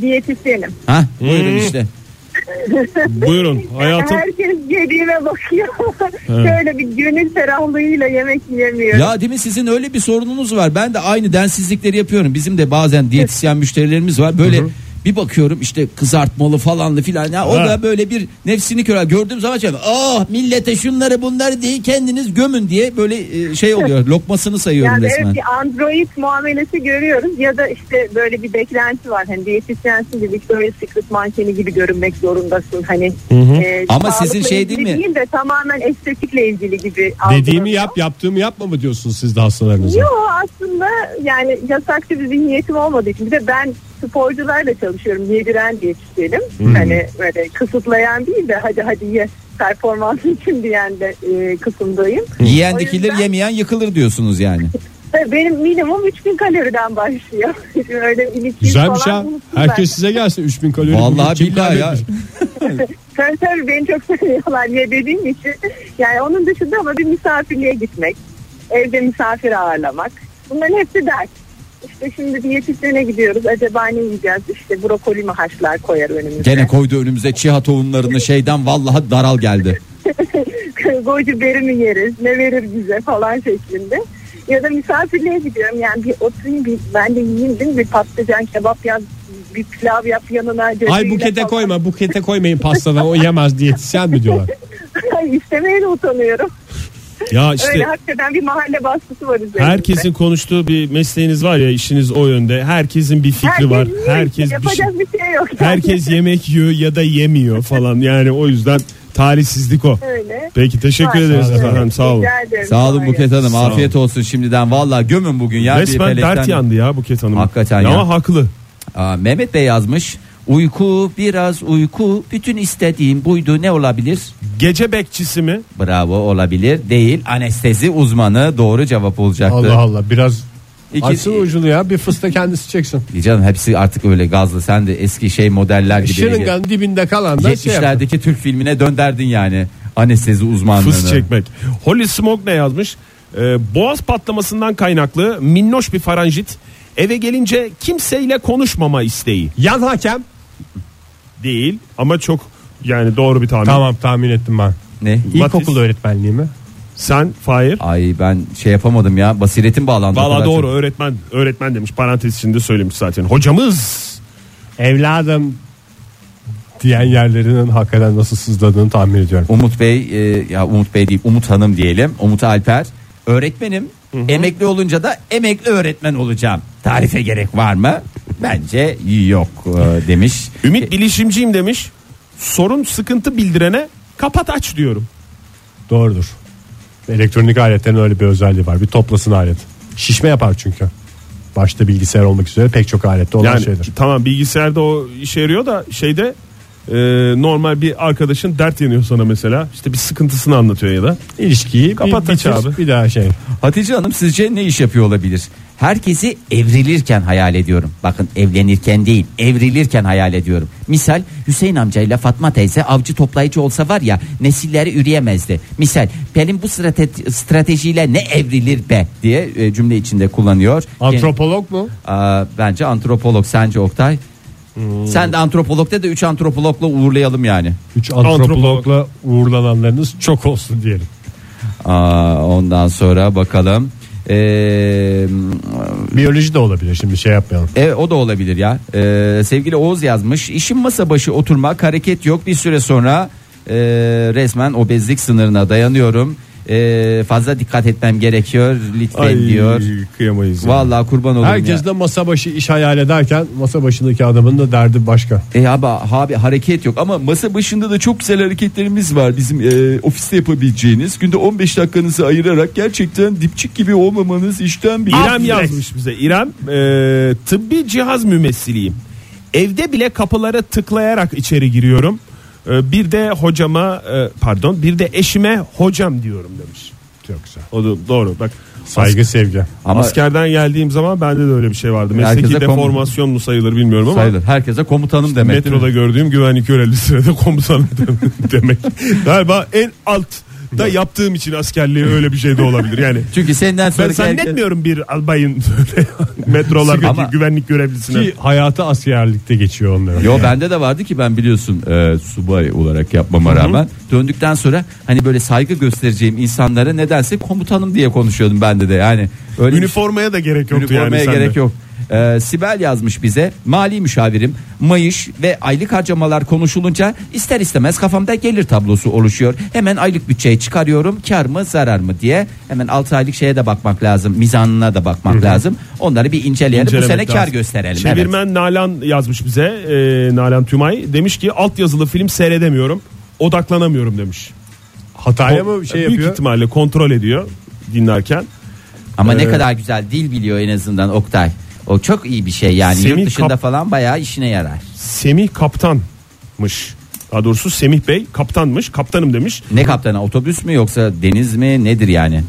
Speaker 6: Diyetisyenim.
Speaker 3: Ha buyurun işte.
Speaker 5: Buyurun hayatım.
Speaker 6: Herkes
Speaker 3: *laughs*
Speaker 6: yediğine bakıyor. Şöyle bir gönül ferahlığıyla yemek yiyemiyor.
Speaker 3: Ya değil mi sizin öyle bir sorununuz var. Ben de aynı densizlikleri yapıyorum. Bizim de bazen diyetisyen müşterilerimiz var. Böyle bir bakıyorum işte kızartmalı falanlı filan. Ya o
Speaker 5: Ha.
Speaker 3: da böyle bir nefsini körer. Gördüğüm zaman şey ah millete şunları bunları değil kendiniz gömün diye böyle e, şey oluyor. Lokmasını sayıyorum
Speaker 6: Yani
Speaker 3: resmen.
Speaker 6: evet bir android muamelesi görüyoruz ya da işte böyle bir beklenti var. Hani diyetisyensin gibi böyle Secret mankeni gibi görünmek zorundasın. Hani e,
Speaker 3: Ama
Speaker 6: sağlıkla
Speaker 3: sizin şey
Speaker 6: ilgili
Speaker 3: değil mi?
Speaker 6: de tamamen estetikle ilgili gibi.
Speaker 4: Dediğimi
Speaker 6: algılanıyor.
Speaker 4: yap yaptığımı yapma mı diyorsunuz siz de hastalarınıza?
Speaker 6: Yok aslında yani yasakçı bir zihniyetim olmadığı için bir de ben sporcularla çalışıyorum yediren diyetisyenim. Hani böyle kısıtlayan değil de hadi hadi ye performansın *laughs* için diyen de e, kısımdayım.
Speaker 3: Yiyen
Speaker 6: O
Speaker 3: dikilir
Speaker 6: yüzden-
Speaker 3: yemeyen yıkılır diyorsunuz yani.
Speaker 6: Ve Benim minimum 3000 kaloriden başlıyor. *laughs* Öyle
Speaker 4: Güzel bir şey. ha. Herkes
Speaker 6: Herkes...
Speaker 4: size gelsin 3000 kalori.
Speaker 3: Vallahi
Speaker 4: kim
Speaker 3: billahi ya.
Speaker 4: kaybetmiş?
Speaker 6: Tabii tabii beni çok *laughs* seviyorlar diye dediğim için. Yani onun dışında ama bir misafirliğe gitmek, evde misafir ağırlamak. Bunların hepsi dert. İşte şimdi diyetisyene gidiyoruz. Acaba ne yiyeceğiz? İşte brokoli mi haşlar koyar önümüze?
Speaker 3: Gene koydu önümüze çiha tohumlarını şeyden vallahi daral geldi.
Speaker 6: *laughs* Goji beri mi yeriz? Ne verir bize falan şeklinde. Ya da misafirliğe gidiyorum. Yani bir oturayım bir, ben de yiyeyim değil mi? Bir patlıcan kebap yap, bir pilav yap yanına.
Speaker 4: Ay
Speaker 6: cacığıyla
Speaker 4: bukete
Speaker 6: falan.
Speaker 4: koyma bukete koymayın pastadan o yemez diyetisyen mi diyorlar?
Speaker 6: *laughs* İstemeye de utanıyorum.
Speaker 5: Ya
Speaker 6: Öyle
Speaker 5: işte
Speaker 6: hakikaten bir mahalle baskısı var üzerimizde.
Speaker 5: herkesin konuştuğu bir mesleğiniz var ya işiniz o yönde. Herkesin bir fikri
Speaker 6: Herkes
Speaker 5: var.
Speaker 6: yiyor
Speaker 5: Herkes
Speaker 6: işte,
Speaker 5: bir şey.
Speaker 6: yapacak bir şey yok. yani.
Speaker 8: *laughs*
Speaker 5: Herkes yemek yiyor ya da yemiyor falan. Yani o yüzden talihsizlik o.
Speaker 6: öyle.
Speaker 5: Peki teşekkür
Speaker 6: Var.
Speaker 5: ederiz
Speaker 6: Evet.
Speaker 5: efendim. Sağ olun.
Speaker 6: Rica ederim.
Speaker 3: Sağ olun
Speaker 6: Kolay
Speaker 3: Buket Hanım
Speaker 5: Sağ olun.
Speaker 3: afiyet olsun şimdiden. Vallahi gömün bugün ya. bir
Speaker 5: Resmen
Speaker 3: felekten-
Speaker 5: dert yandı ya Buket Hanım.
Speaker 3: Hakikaten
Speaker 5: Ama
Speaker 3: ya.
Speaker 5: haklı.
Speaker 3: Aa, Mehmet Bey yazmış. Uyku biraz uyku bütün istediğim buydu ne olabilir?
Speaker 5: Gece bekçisi mi?
Speaker 3: Bravo olabilir değil anestezi uzmanı doğru cevap olacaktı.
Speaker 4: Allah Allah biraz
Speaker 3: İki-
Speaker 4: açsın ucunu ya bir fıstık kendisi çeksin.
Speaker 3: Canım hepsi artık öyle gazlı sen de eski şey modeller gibi.
Speaker 4: Şırınganın dibinde kalan da şey yapar.
Speaker 3: 70'lerdeki Türk filmine dönderdin yani anestezi uzmanlığını.
Speaker 5: Fıs çekmek. Holly Smoke ne yazmış? Ee, boğaz patlamasından kaynaklı minnoş bir faranjit. Eve gelince kimseyle konuşmama isteği
Speaker 4: Yan hakem.
Speaker 5: değil ama çok yani doğru bir tahmin.
Speaker 4: Tamam tahmin ettim ben.
Speaker 3: Ne?
Speaker 4: İlkokul öğretmenliği mi?
Speaker 5: Sen Fahir.
Speaker 3: Ay ben şey yapamadım ya basiretim bağlandı. O
Speaker 5: Valla
Speaker 3: kadar
Speaker 5: doğru
Speaker 3: çok.
Speaker 5: öğretmen öğretmen demiş parantez içinde söylemiş zaten. Hocamız
Speaker 4: Evladım diyen yerlerinin hakikaten nasıl sızladığını tahmin ediyorum.
Speaker 3: Umut Bey e, ya Umut Bey değil Umut Hanım diyelim Umut Alper öğretmenim emekli olunca da emekli öğretmen olacağım tarife gerek var mı bence yok e, demiş
Speaker 5: Ümit bilişimciyim demiş. Sorun sıkıntı bildirene kapat aç diyorum.
Speaker 4: Doğrudur. Elektronik aletlerin öyle bir özelliği var. Bir toplasın alet. Şişme yapar çünkü. Başta bilgisayar olmak üzere pek çok alette olan
Speaker 5: Yani
Speaker 4: şeydir.
Speaker 5: tamam bilgisayarda o işe yarıyor da şeyde e, normal bir arkadaşın dert yanıyor sana mesela. İşte bir sıkıntısını anlatıyor ya da.
Speaker 4: İlişkiyi bir
Speaker 5: Kapat aç
Speaker 4: bitir,
Speaker 5: abi.
Speaker 4: Bir daha şey.
Speaker 3: Hatice Hanım sizce ne iş yapıyor olabilir herkesi evrilirken hayal ediyorum bakın evlenirken değil evrilirken hayal ediyorum misal Hüseyin amcayla Fatma teyze avcı toplayıcı olsa var ya nesilleri üreyemezdi misal Pelin bu strate- stratejiyle ne evrilir be diye e, cümle içinde kullanıyor
Speaker 4: Antropolog mu?
Speaker 3: Aa, bence antropolog sence Oktay? Sen de antropolog de de 3 antropologla uğurlayalım yani.
Speaker 4: Üç antropologla uğurlananlarınız çok olsun diyelim.
Speaker 3: Aa, ondan sonra bakalım. Ee,
Speaker 4: Biyoloji de olabilir şimdi şey yapmayalım.
Speaker 3: e, o da olabilir ya. Ee, sevgili Oğuz yazmış. İşin masa başı oturmak hareket yok bir süre sonra e, resmen obezlik sınırına dayanıyorum. E, fazla dikkat etmem gerekiyor lütfen diyor.
Speaker 5: kıyamayız. ya.
Speaker 3: Vallahi kurban olurum ya.
Speaker 4: Herkes de masa başı iş hayal ederken masa başındaki adamın da derdi başka.
Speaker 3: E abi, abi hareket yok ama masa başında da çok güzel hareketlerimiz var bizim e, ofiste yapabileceğiniz. Günde 15 dakikanızı ayırarak gerçekten dipçik gibi olmamanız işten bir...
Speaker 5: İrem yazmış bize. İrem e, tıbbi cihaz mümessiliyim. Evde bile kapılara tıklayarak içeri giriyorum. E, bir de hocama e, pardon bir de eşime hocam diyorum demiş.
Speaker 4: Çok güzel.
Speaker 5: O da doğru. Bak
Speaker 4: Saygı sevgi.
Speaker 3: Ama
Speaker 5: Askerden geldiğim zaman bende de öyle bir şey vardı. Mesleki
Speaker 3: Herkese kom-
Speaker 5: deformasyon mu sayılır bilmiyorum ama
Speaker 3: sayılır. Herkese komutanım demek. değil mi?
Speaker 5: *laughs* metroda gördüğüm güvenlik görevlisine de komutan demek. Galiba en alt da yaptığım için askerliğe öyle bir şey de olabilir. Yani
Speaker 3: Çünkü senden
Speaker 5: ben
Speaker 3: sonraki herkes-
Speaker 5: zannetmiyorum bir albayın *laughs* böyle metrolardaki
Speaker 3: Ama-
Speaker 5: güvenlik görevlisine.
Speaker 4: Ki hayatı askerlikte geçiyor onların.
Speaker 3: Yo bende de vardı ki ben biliyorsun e, subay olarak yapmama rağmen döndükten sonra hani böyle saygı göstereceğim insanlara nedense komutanım diye konuşuyordum bende de yani öyle bir şey-
Speaker 5: Üniformaya da gerek yoktu
Speaker 3: Üniformaya
Speaker 5: yani. sende.
Speaker 3: gerek yok. Ee, Sibel yazmış bize mali müşavirim mayış ve aylık harcamalar konuşulunca ister istemez kafamda gelir tablosu oluşuyor. Hemen aylık bütçeyi çıkarıyorum kar mı zarar mı diye hemen 6 aylık şeye de bakmak lazım mizanına da bakmak lazım. Onları bir inceleyelim bu
Speaker 5: İncelemek
Speaker 3: sene kar
Speaker 5: lazım.
Speaker 3: gösterelim. Evet.
Speaker 5: Çevirmen Nalan yazmış bize. Ee, Nalan Tümay demiş ki altyazılı film seyredemiyorum. Odaklanamıyorum demiş.
Speaker 4: Hataya mı bir şey
Speaker 5: Büyük
Speaker 4: yapıyor?
Speaker 5: ihtimalle kontrol ediyor dinlerken.
Speaker 3: Ama ne
Speaker 5: Ee,
Speaker 3: kadar güzel dil biliyor en azından Oktay. O çok iyi bir şey yani
Speaker 5: Semih
Speaker 3: yurt dışında
Speaker 5: Kap-
Speaker 3: falan bayağı işine yarar.
Speaker 5: Semih kaptanmış. Daha doğrusu Semih Bey kaptanmış. Kaptanım demiş.
Speaker 3: Ne kaptana otobüs mü yoksa deniz mi nedir yani?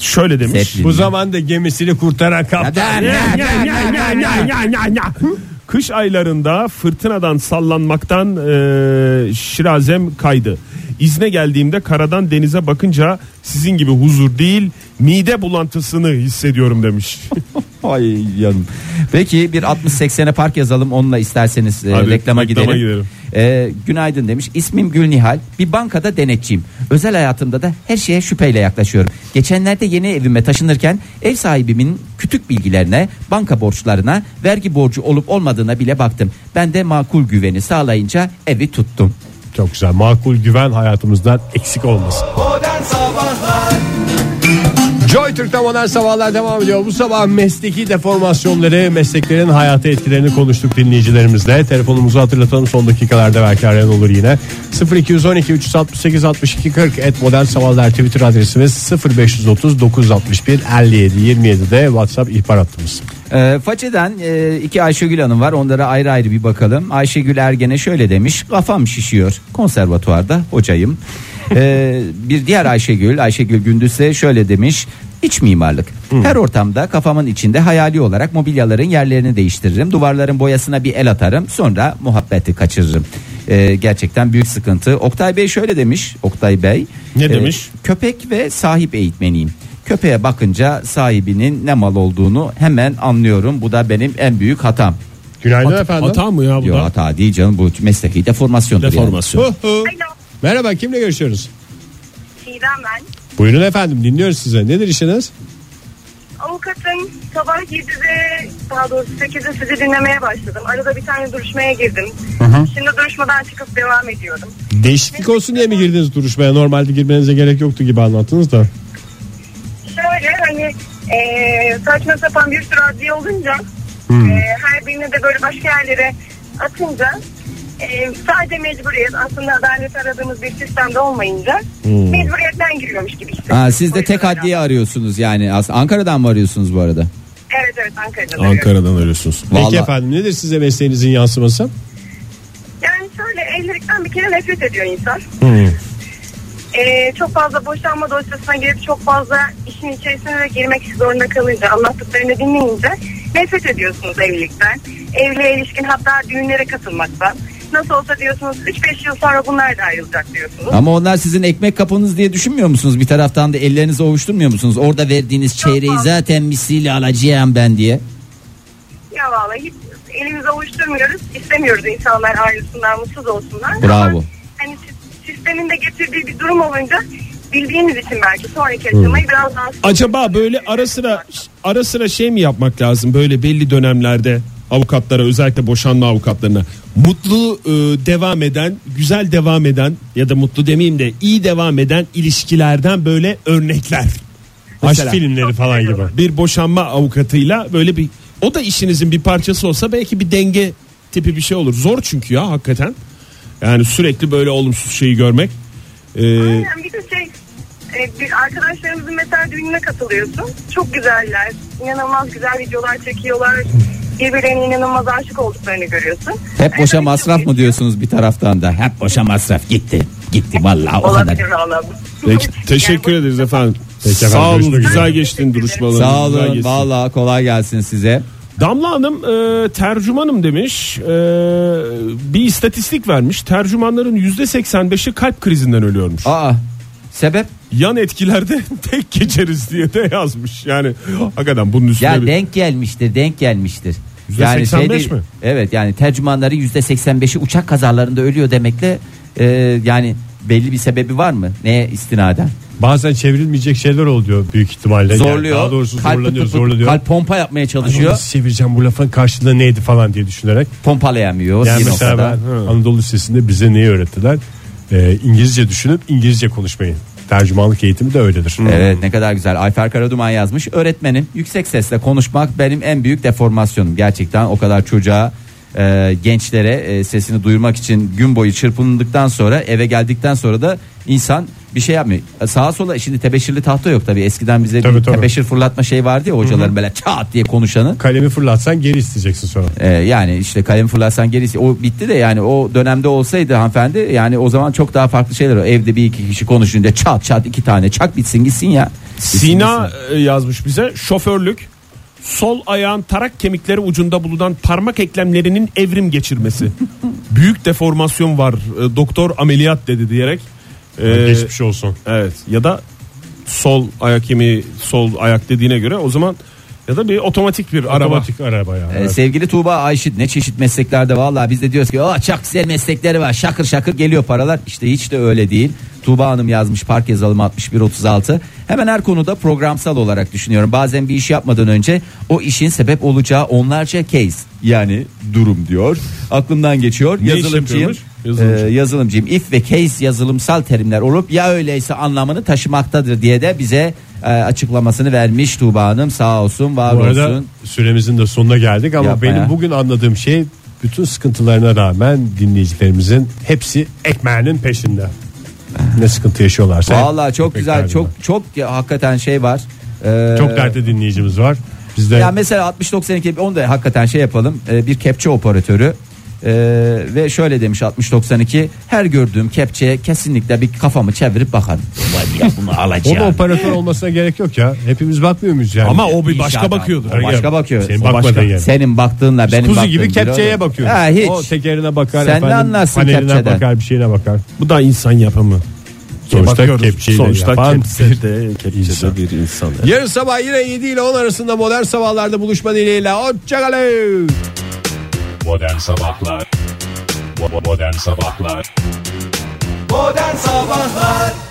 Speaker 5: Şöyle demiş.
Speaker 3: Zeplin.
Speaker 4: Bu zaman da gemisini kurtaran kaptan.
Speaker 3: Ya ben-
Speaker 5: Kış aylarında fırtınadan sallanmaktan e, şirazem kaydı. İzne geldiğimde karadan denize bakınca sizin gibi huzur değil mide bulantısını hissediyorum demiş.
Speaker 4: *laughs*
Speaker 3: Ay yanım. Peki bir 60-80'e park yazalım onunla isterseniz e, reklama
Speaker 5: Abi, reklama
Speaker 3: gidelim.
Speaker 5: gidelim.
Speaker 3: E, günaydın demiş. İsmim Gülnihal. Bir bankada denetçiyim. Özel hayatımda da her şeye şüpheyle yaklaşıyorum. Geçenlerde yeni evime taşınırken ev sahibimin kütük bilgilerine, banka borçlarına, vergi borcu olup olmadığına bile baktım. Ben de makul güveni sağlayınca evi tuttum.
Speaker 4: Çok güzel. Makul güven hayatımızdan eksik olmasın.
Speaker 1: Modern Sabahlar
Speaker 4: Joy Türk'te modern sabahlar devam ediyor. Bu sabah mesleki deformasyonları, mesleklerin hayata etkilerini konuştuk dinleyicilerimizle. Telefonumuzu hatırlatalım son dakikalarda belki arayan olur yine. 0212 368 62 40 et modern sabahlar Twitter adresimiz 0530 961 57 27'de WhatsApp ihbar hattımız.
Speaker 3: E, Façeden e, iki Ayşegül Hanım var. Onlara ayrı ayrı bir bakalım. Ayşegül Ergen'e şöyle demiş. Kafam şişiyor. Konservatuvarda hocayım. E, bir diğer Ayşegül, Ayşegül Gündüz'e şöyle demiş. İç mimarlık. Her ortamda kafamın içinde hayali olarak mobilyaların yerlerini değiştiririm. Duvarların boyasına bir el atarım. Sonra muhabbeti kaçırırım. E, gerçekten büyük sıkıntı. Oktay Bey şöyle demiş. Oktay Bey. Ee,
Speaker 5: Ne demiş?
Speaker 3: Köpek ve sahip eğitmeniyim. Köpeğe bakınca sahibinin ne mal olduğunu hemen anlıyorum. Bu da benim en büyük hatam.
Speaker 4: Günaydın
Speaker 5: Hata-
Speaker 4: efendim.
Speaker 5: hata mı ya bu
Speaker 3: Yok
Speaker 5: da?
Speaker 3: hata değil canım bu mesleki deformasyondur. yani.
Speaker 5: Deformasyon.
Speaker 8: Alo
Speaker 4: Merhaba kimle görüşüyoruz?
Speaker 8: Çiğdem ben.
Speaker 4: Buyurun efendim dinliyoruz size. Nedir işiniz?
Speaker 8: Avukatım sabah 7'de daha doğrusu 8'de sizi dinlemeye başladım. Arada bir tane duruşmaya girdim. Şimdi duruşmadan çıkıp devam ediyorum.
Speaker 4: Değişiklik olsun diye mi girdiniz duruşmaya? Normalde girmenize gerek yoktu gibi anlattınız da.
Speaker 8: Şöyle hani eee saçma sapan bir sürü adliye olunca eee, her birini de böyle başka yerlere atınca eee sadece mecburiyet aslında adalet aradığımız bir sistemde olmayınca mecburiyetten giriyormuş gibi hissediyorum.
Speaker 3: Ha, siz
Speaker 8: O
Speaker 3: de
Speaker 8: yüzden
Speaker 3: tek adliye arıyorsunuz yani. As- Ankara'dan mı arıyorsunuz bu arada?
Speaker 8: Evet evet Ankara'da. Ankara.
Speaker 5: Ankara'dan arıyorsunuz.
Speaker 4: Peki efendim nedir size mesleğinizin yansıması?
Speaker 8: Yani şöyle evlilikten bir kere nefret ediyor insan. Ee, çok fazla boşanma dosyasına girip çok fazla işin içerisine de girmek zorunda kalınca anlattıklarını dinleyince nefret ediyorsunuz evlilikten. Evliliğe ilişkin hatta düğünlere katılmaktan. Nasıl olsa diyorsunuz 3-5 yıl sonra bunlar da ayrılacak diyorsunuz.
Speaker 3: Ama onlar sizin ekmek kapınız diye düşünmüyor musunuz? Bir taraftan da ellerinizi ovuşturmuyor musunuz? Orada verdiğiniz çeyreği
Speaker 8: fazla.
Speaker 3: zaten misliyle alacağım ben diye.
Speaker 8: Ya vallahi hiç elimizi avuşturmuyoruz. İstemiyoruz insanlar ayrılsınlar, mutsuz olsunlar.
Speaker 3: Bravo.
Speaker 8: Ama hani sis- sistemin de getirdiği bir durum olunca bildiğiniz için belki sonraki aşamayı biraz daha...
Speaker 5: Acaba böyle ara sıra ara sıra şey mi yapmak lazım böyle belli dönemlerde avukatlara özellikle boşanma avukatlarına mutlu e, devam eden güzel devam eden ya da mutlu demeyeyim de iyi devam eden ilişkilerden böyle örnekler.
Speaker 4: Aşk
Speaker 5: Mesela
Speaker 4: filmleri falan gibi.
Speaker 5: bir boşanma avukatıyla böyle bir o da işinizin bir parçası olsa belki bir denge tipi bir şey olur. Zor çünkü ya hakikaten. Yani sürekli böyle olumsuz şeyi görmek. E,
Speaker 8: Aynen bir de şey e, bir arkadaşlarımızın mesela düğününe katılıyorsun. Çok güzeller. inanılmaz güzel videolar çekiyorlar. Birbirlerine inanılmaz aşık olduklarını görüyorsun.
Speaker 3: Hep boşa
Speaker 8: Evet,
Speaker 3: masraf
Speaker 8: çok
Speaker 3: mı diyorsunuz bir taraftan da? Hep boşa masraf gitti. Gitti vallahi o kadar.
Speaker 8: Olabilir Allah'ım.
Speaker 5: Peki, teşekkür
Speaker 8: Yani bu-
Speaker 5: ederiz efendim.
Speaker 4: Peki efendim,
Speaker 5: Sağ olun.
Speaker 4: görüşmek
Speaker 5: Güzel
Speaker 8: üzere.
Speaker 5: geçtin duruşmalarınız.
Speaker 3: Sağ
Speaker 5: güzel
Speaker 3: olun.
Speaker 5: geçti.
Speaker 3: Vallahi kolay gelsin size.
Speaker 5: Damla Hanım e, tercümanım demiş. E, bir istatistik vermiş. Tercümanların %85'i kalp krizinden ölüyormuş.
Speaker 3: Aa sebep
Speaker 5: yan etkilerde *laughs* tek geçeriz diye de yazmış. Yani hakikaten bunun üstüne
Speaker 3: Ya
Speaker 5: bir-
Speaker 3: denk gelmiştir, denk gelmiştir.
Speaker 5: %85
Speaker 3: şey değil-
Speaker 5: mi?
Speaker 3: Evet yani tercümanları %85'i uçak kazalarında ölüyor demekle e, yani belli bir sebebi var mı? Neye istinaden?
Speaker 4: Bazen çevrilmeyecek şeyler oluyor büyük ihtimalle. Yani
Speaker 3: Zorluyor.
Speaker 4: daha doğrusu
Speaker 3: kalp
Speaker 4: zorlanıyor
Speaker 3: tutup-
Speaker 4: zorlanıyor.
Speaker 3: Kalp pompa yapmaya
Speaker 4: Ay,
Speaker 3: çalışıyor.
Speaker 4: onu nasıl çevireceğim bu lafın karşılığı neydi falan diye düşünerek.
Speaker 3: Pompalayamıyor.
Speaker 4: Yani
Speaker 3: bir
Speaker 4: mesela
Speaker 3: noktada.
Speaker 4: ben Anadolu Lisesi'nde bize neyi öğrettiler? Ee, İngilizce düşünüp İngilizce konuşmayı. Tercümanlık eğitimi de öyledir.
Speaker 3: Evet ne kadar güzel. Ayfer Karaduman yazmış. Öğretmenim yüksek sesle konuşmak benim en büyük deformasyonum. Gerçekten o kadar çocuğa e, gençlere e, sesini duyurmak için gün boyu çırpındıktan sonra eve geldikten sonra da insan bir şey yapmıyor. E, Sağa sola şimdi tebeşirli tahta yok tabii. Eskiden bize
Speaker 4: Tabii,
Speaker 3: bir
Speaker 4: tabii.
Speaker 3: tebeşir fırlatma şey vardı ya hocaların böyle çat diye konuşanı.
Speaker 4: Kalemi fırlatsan geri isteyeceksin sonra.
Speaker 3: E, yani işte kalem fırlatsan gerisi o bitti de yani o dönemde olsaydı hanımefendi yani o zaman çok daha farklı şeyler. o. Evde bir iki kişi konuşunca çat çat iki tane çak bitsin gitsin ya. Bitsin
Speaker 5: Sina e, yazmış bize şoförlük sol ayağın tarak kemikleri ucunda bulunan parmak eklemlerinin evrim geçirmesi. Büyük deformasyon var. e, Doktor ameliyat dedi diyerek.
Speaker 3: Ee,
Speaker 5: E,
Speaker 4: Geçmiş olsun.
Speaker 5: Evet ya da sol ayak kemiği sol ayak dediğine göre o zaman ya da bir otomatik bir araba.
Speaker 4: Otomatik araba ya.
Speaker 3: Ee, Sevgili Tuğba Ayşit ne çeşit mesleklerde valla biz de diyoruz ki oh, çok güzel meslekleri var şakır şakır geliyor paralar işte hiç de öyle değil. Tuğba Hanım yazmış park yazalım 6136 hemen her konuda programsal olarak düşünüyorum bazen bir iş yapmadan önce o işin sebep olacağı onlarca case yani durum diyor aklımdan geçiyor
Speaker 5: iş
Speaker 3: yazılımcıyım.
Speaker 5: yapıyormuş? Yazılımcı.
Speaker 3: Ee, yazılımcıyım if ve case yazılımsal terimler olup ya öyleyse anlamını taşımaktadır diye de bize e, açıklamasını vermiş Tuğba Hanım sağ olsun var
Speaker 4: Bu arada
Speaker 3: olsun.
Speaker 4: süremizin de sonuna geldik ama
Speaker 3: Yapma
Speaker 4: benim
Speaker 3: ya.
Speaker 4: bugün anladığım şey bütün sıkıntılarına rağmen dinleyicilerimizin hepsi ekmeğinin peşinde. Ne sıkıntı yaşıyorlarsa. hep
Speaker 3: Vallahi çok
Speaker 4: ekmek
Speaker 3: güzel
Speaker 4: derdinde.
Speaker 3: çok çok ya, hakikaten şey var. Ee,
Speaker 4: çok dertli dinleyicimiz var. Biz de
Speaker 3: Ya mesela 60-92 onu da hakikaten şey yapalım. Ee, bir kepçe operatörü ee, ve şöyle demiş 60-92 her gördüğüm kepçeye kesinlikle bir kafamı çevirip bakarım. Vay ya bunu
Speaker 4: o
Speaker 3: alacağım.
Speaker 4: da operatör olmasına gerek yok ya. Hepimiz bakmıyor muyuz yani?
Speaker 5: Ama o bir başka
Speaker 3: İnşaat abi.
Speaker 5: bakıyordur.
Speaker 3: O başka bakıyor.
Speaker 4: Senin
Speaker 3: O
Speaker 4: bakmadığın
Speaker 3: başka.
Speaker 4: yer.
Speaker 3: Senin baktığınla benim
Speaker 4: Kuzu
Speaker 3: baktığım
Speaker 4: gibi
Speaker 3: bir
Speaker 4: kepçeye
Speaker 3: olay.
Speaker 4: bakıyoruz.
Speaker 3: Ha, hiç.
Speaker 4: O tekerine bakar
Speaker 3: Sen ne
Speaker 4: efendim.
Speaker 3: anlarsın
Speaker 4: paneline
Speaker 3: kepçeden?
Speaker 4: bakar bir şeyine bakar.
Speaker 5: Bu da insan yapımı.
Speaker 4: Sonuçta
Speaker 5: Bakıyoruz.
Speaker 4: kepçeyi de
Speaker 5: Sonuçta
Speaker 4: yapan
Speaker 5: kepçe de- kepçe de
Speaker 4: insan.
Speaker 5: bir insan.
Speaker 4: Yarın sabah yine 7 ile 10 arasında modern sabahlarda buluşma dileğiyle. Hoşçakalın.
Speaker 9: Modern Sabahlar Bo- Modern Sabahlar
Speaker 1: Modern Sabahlar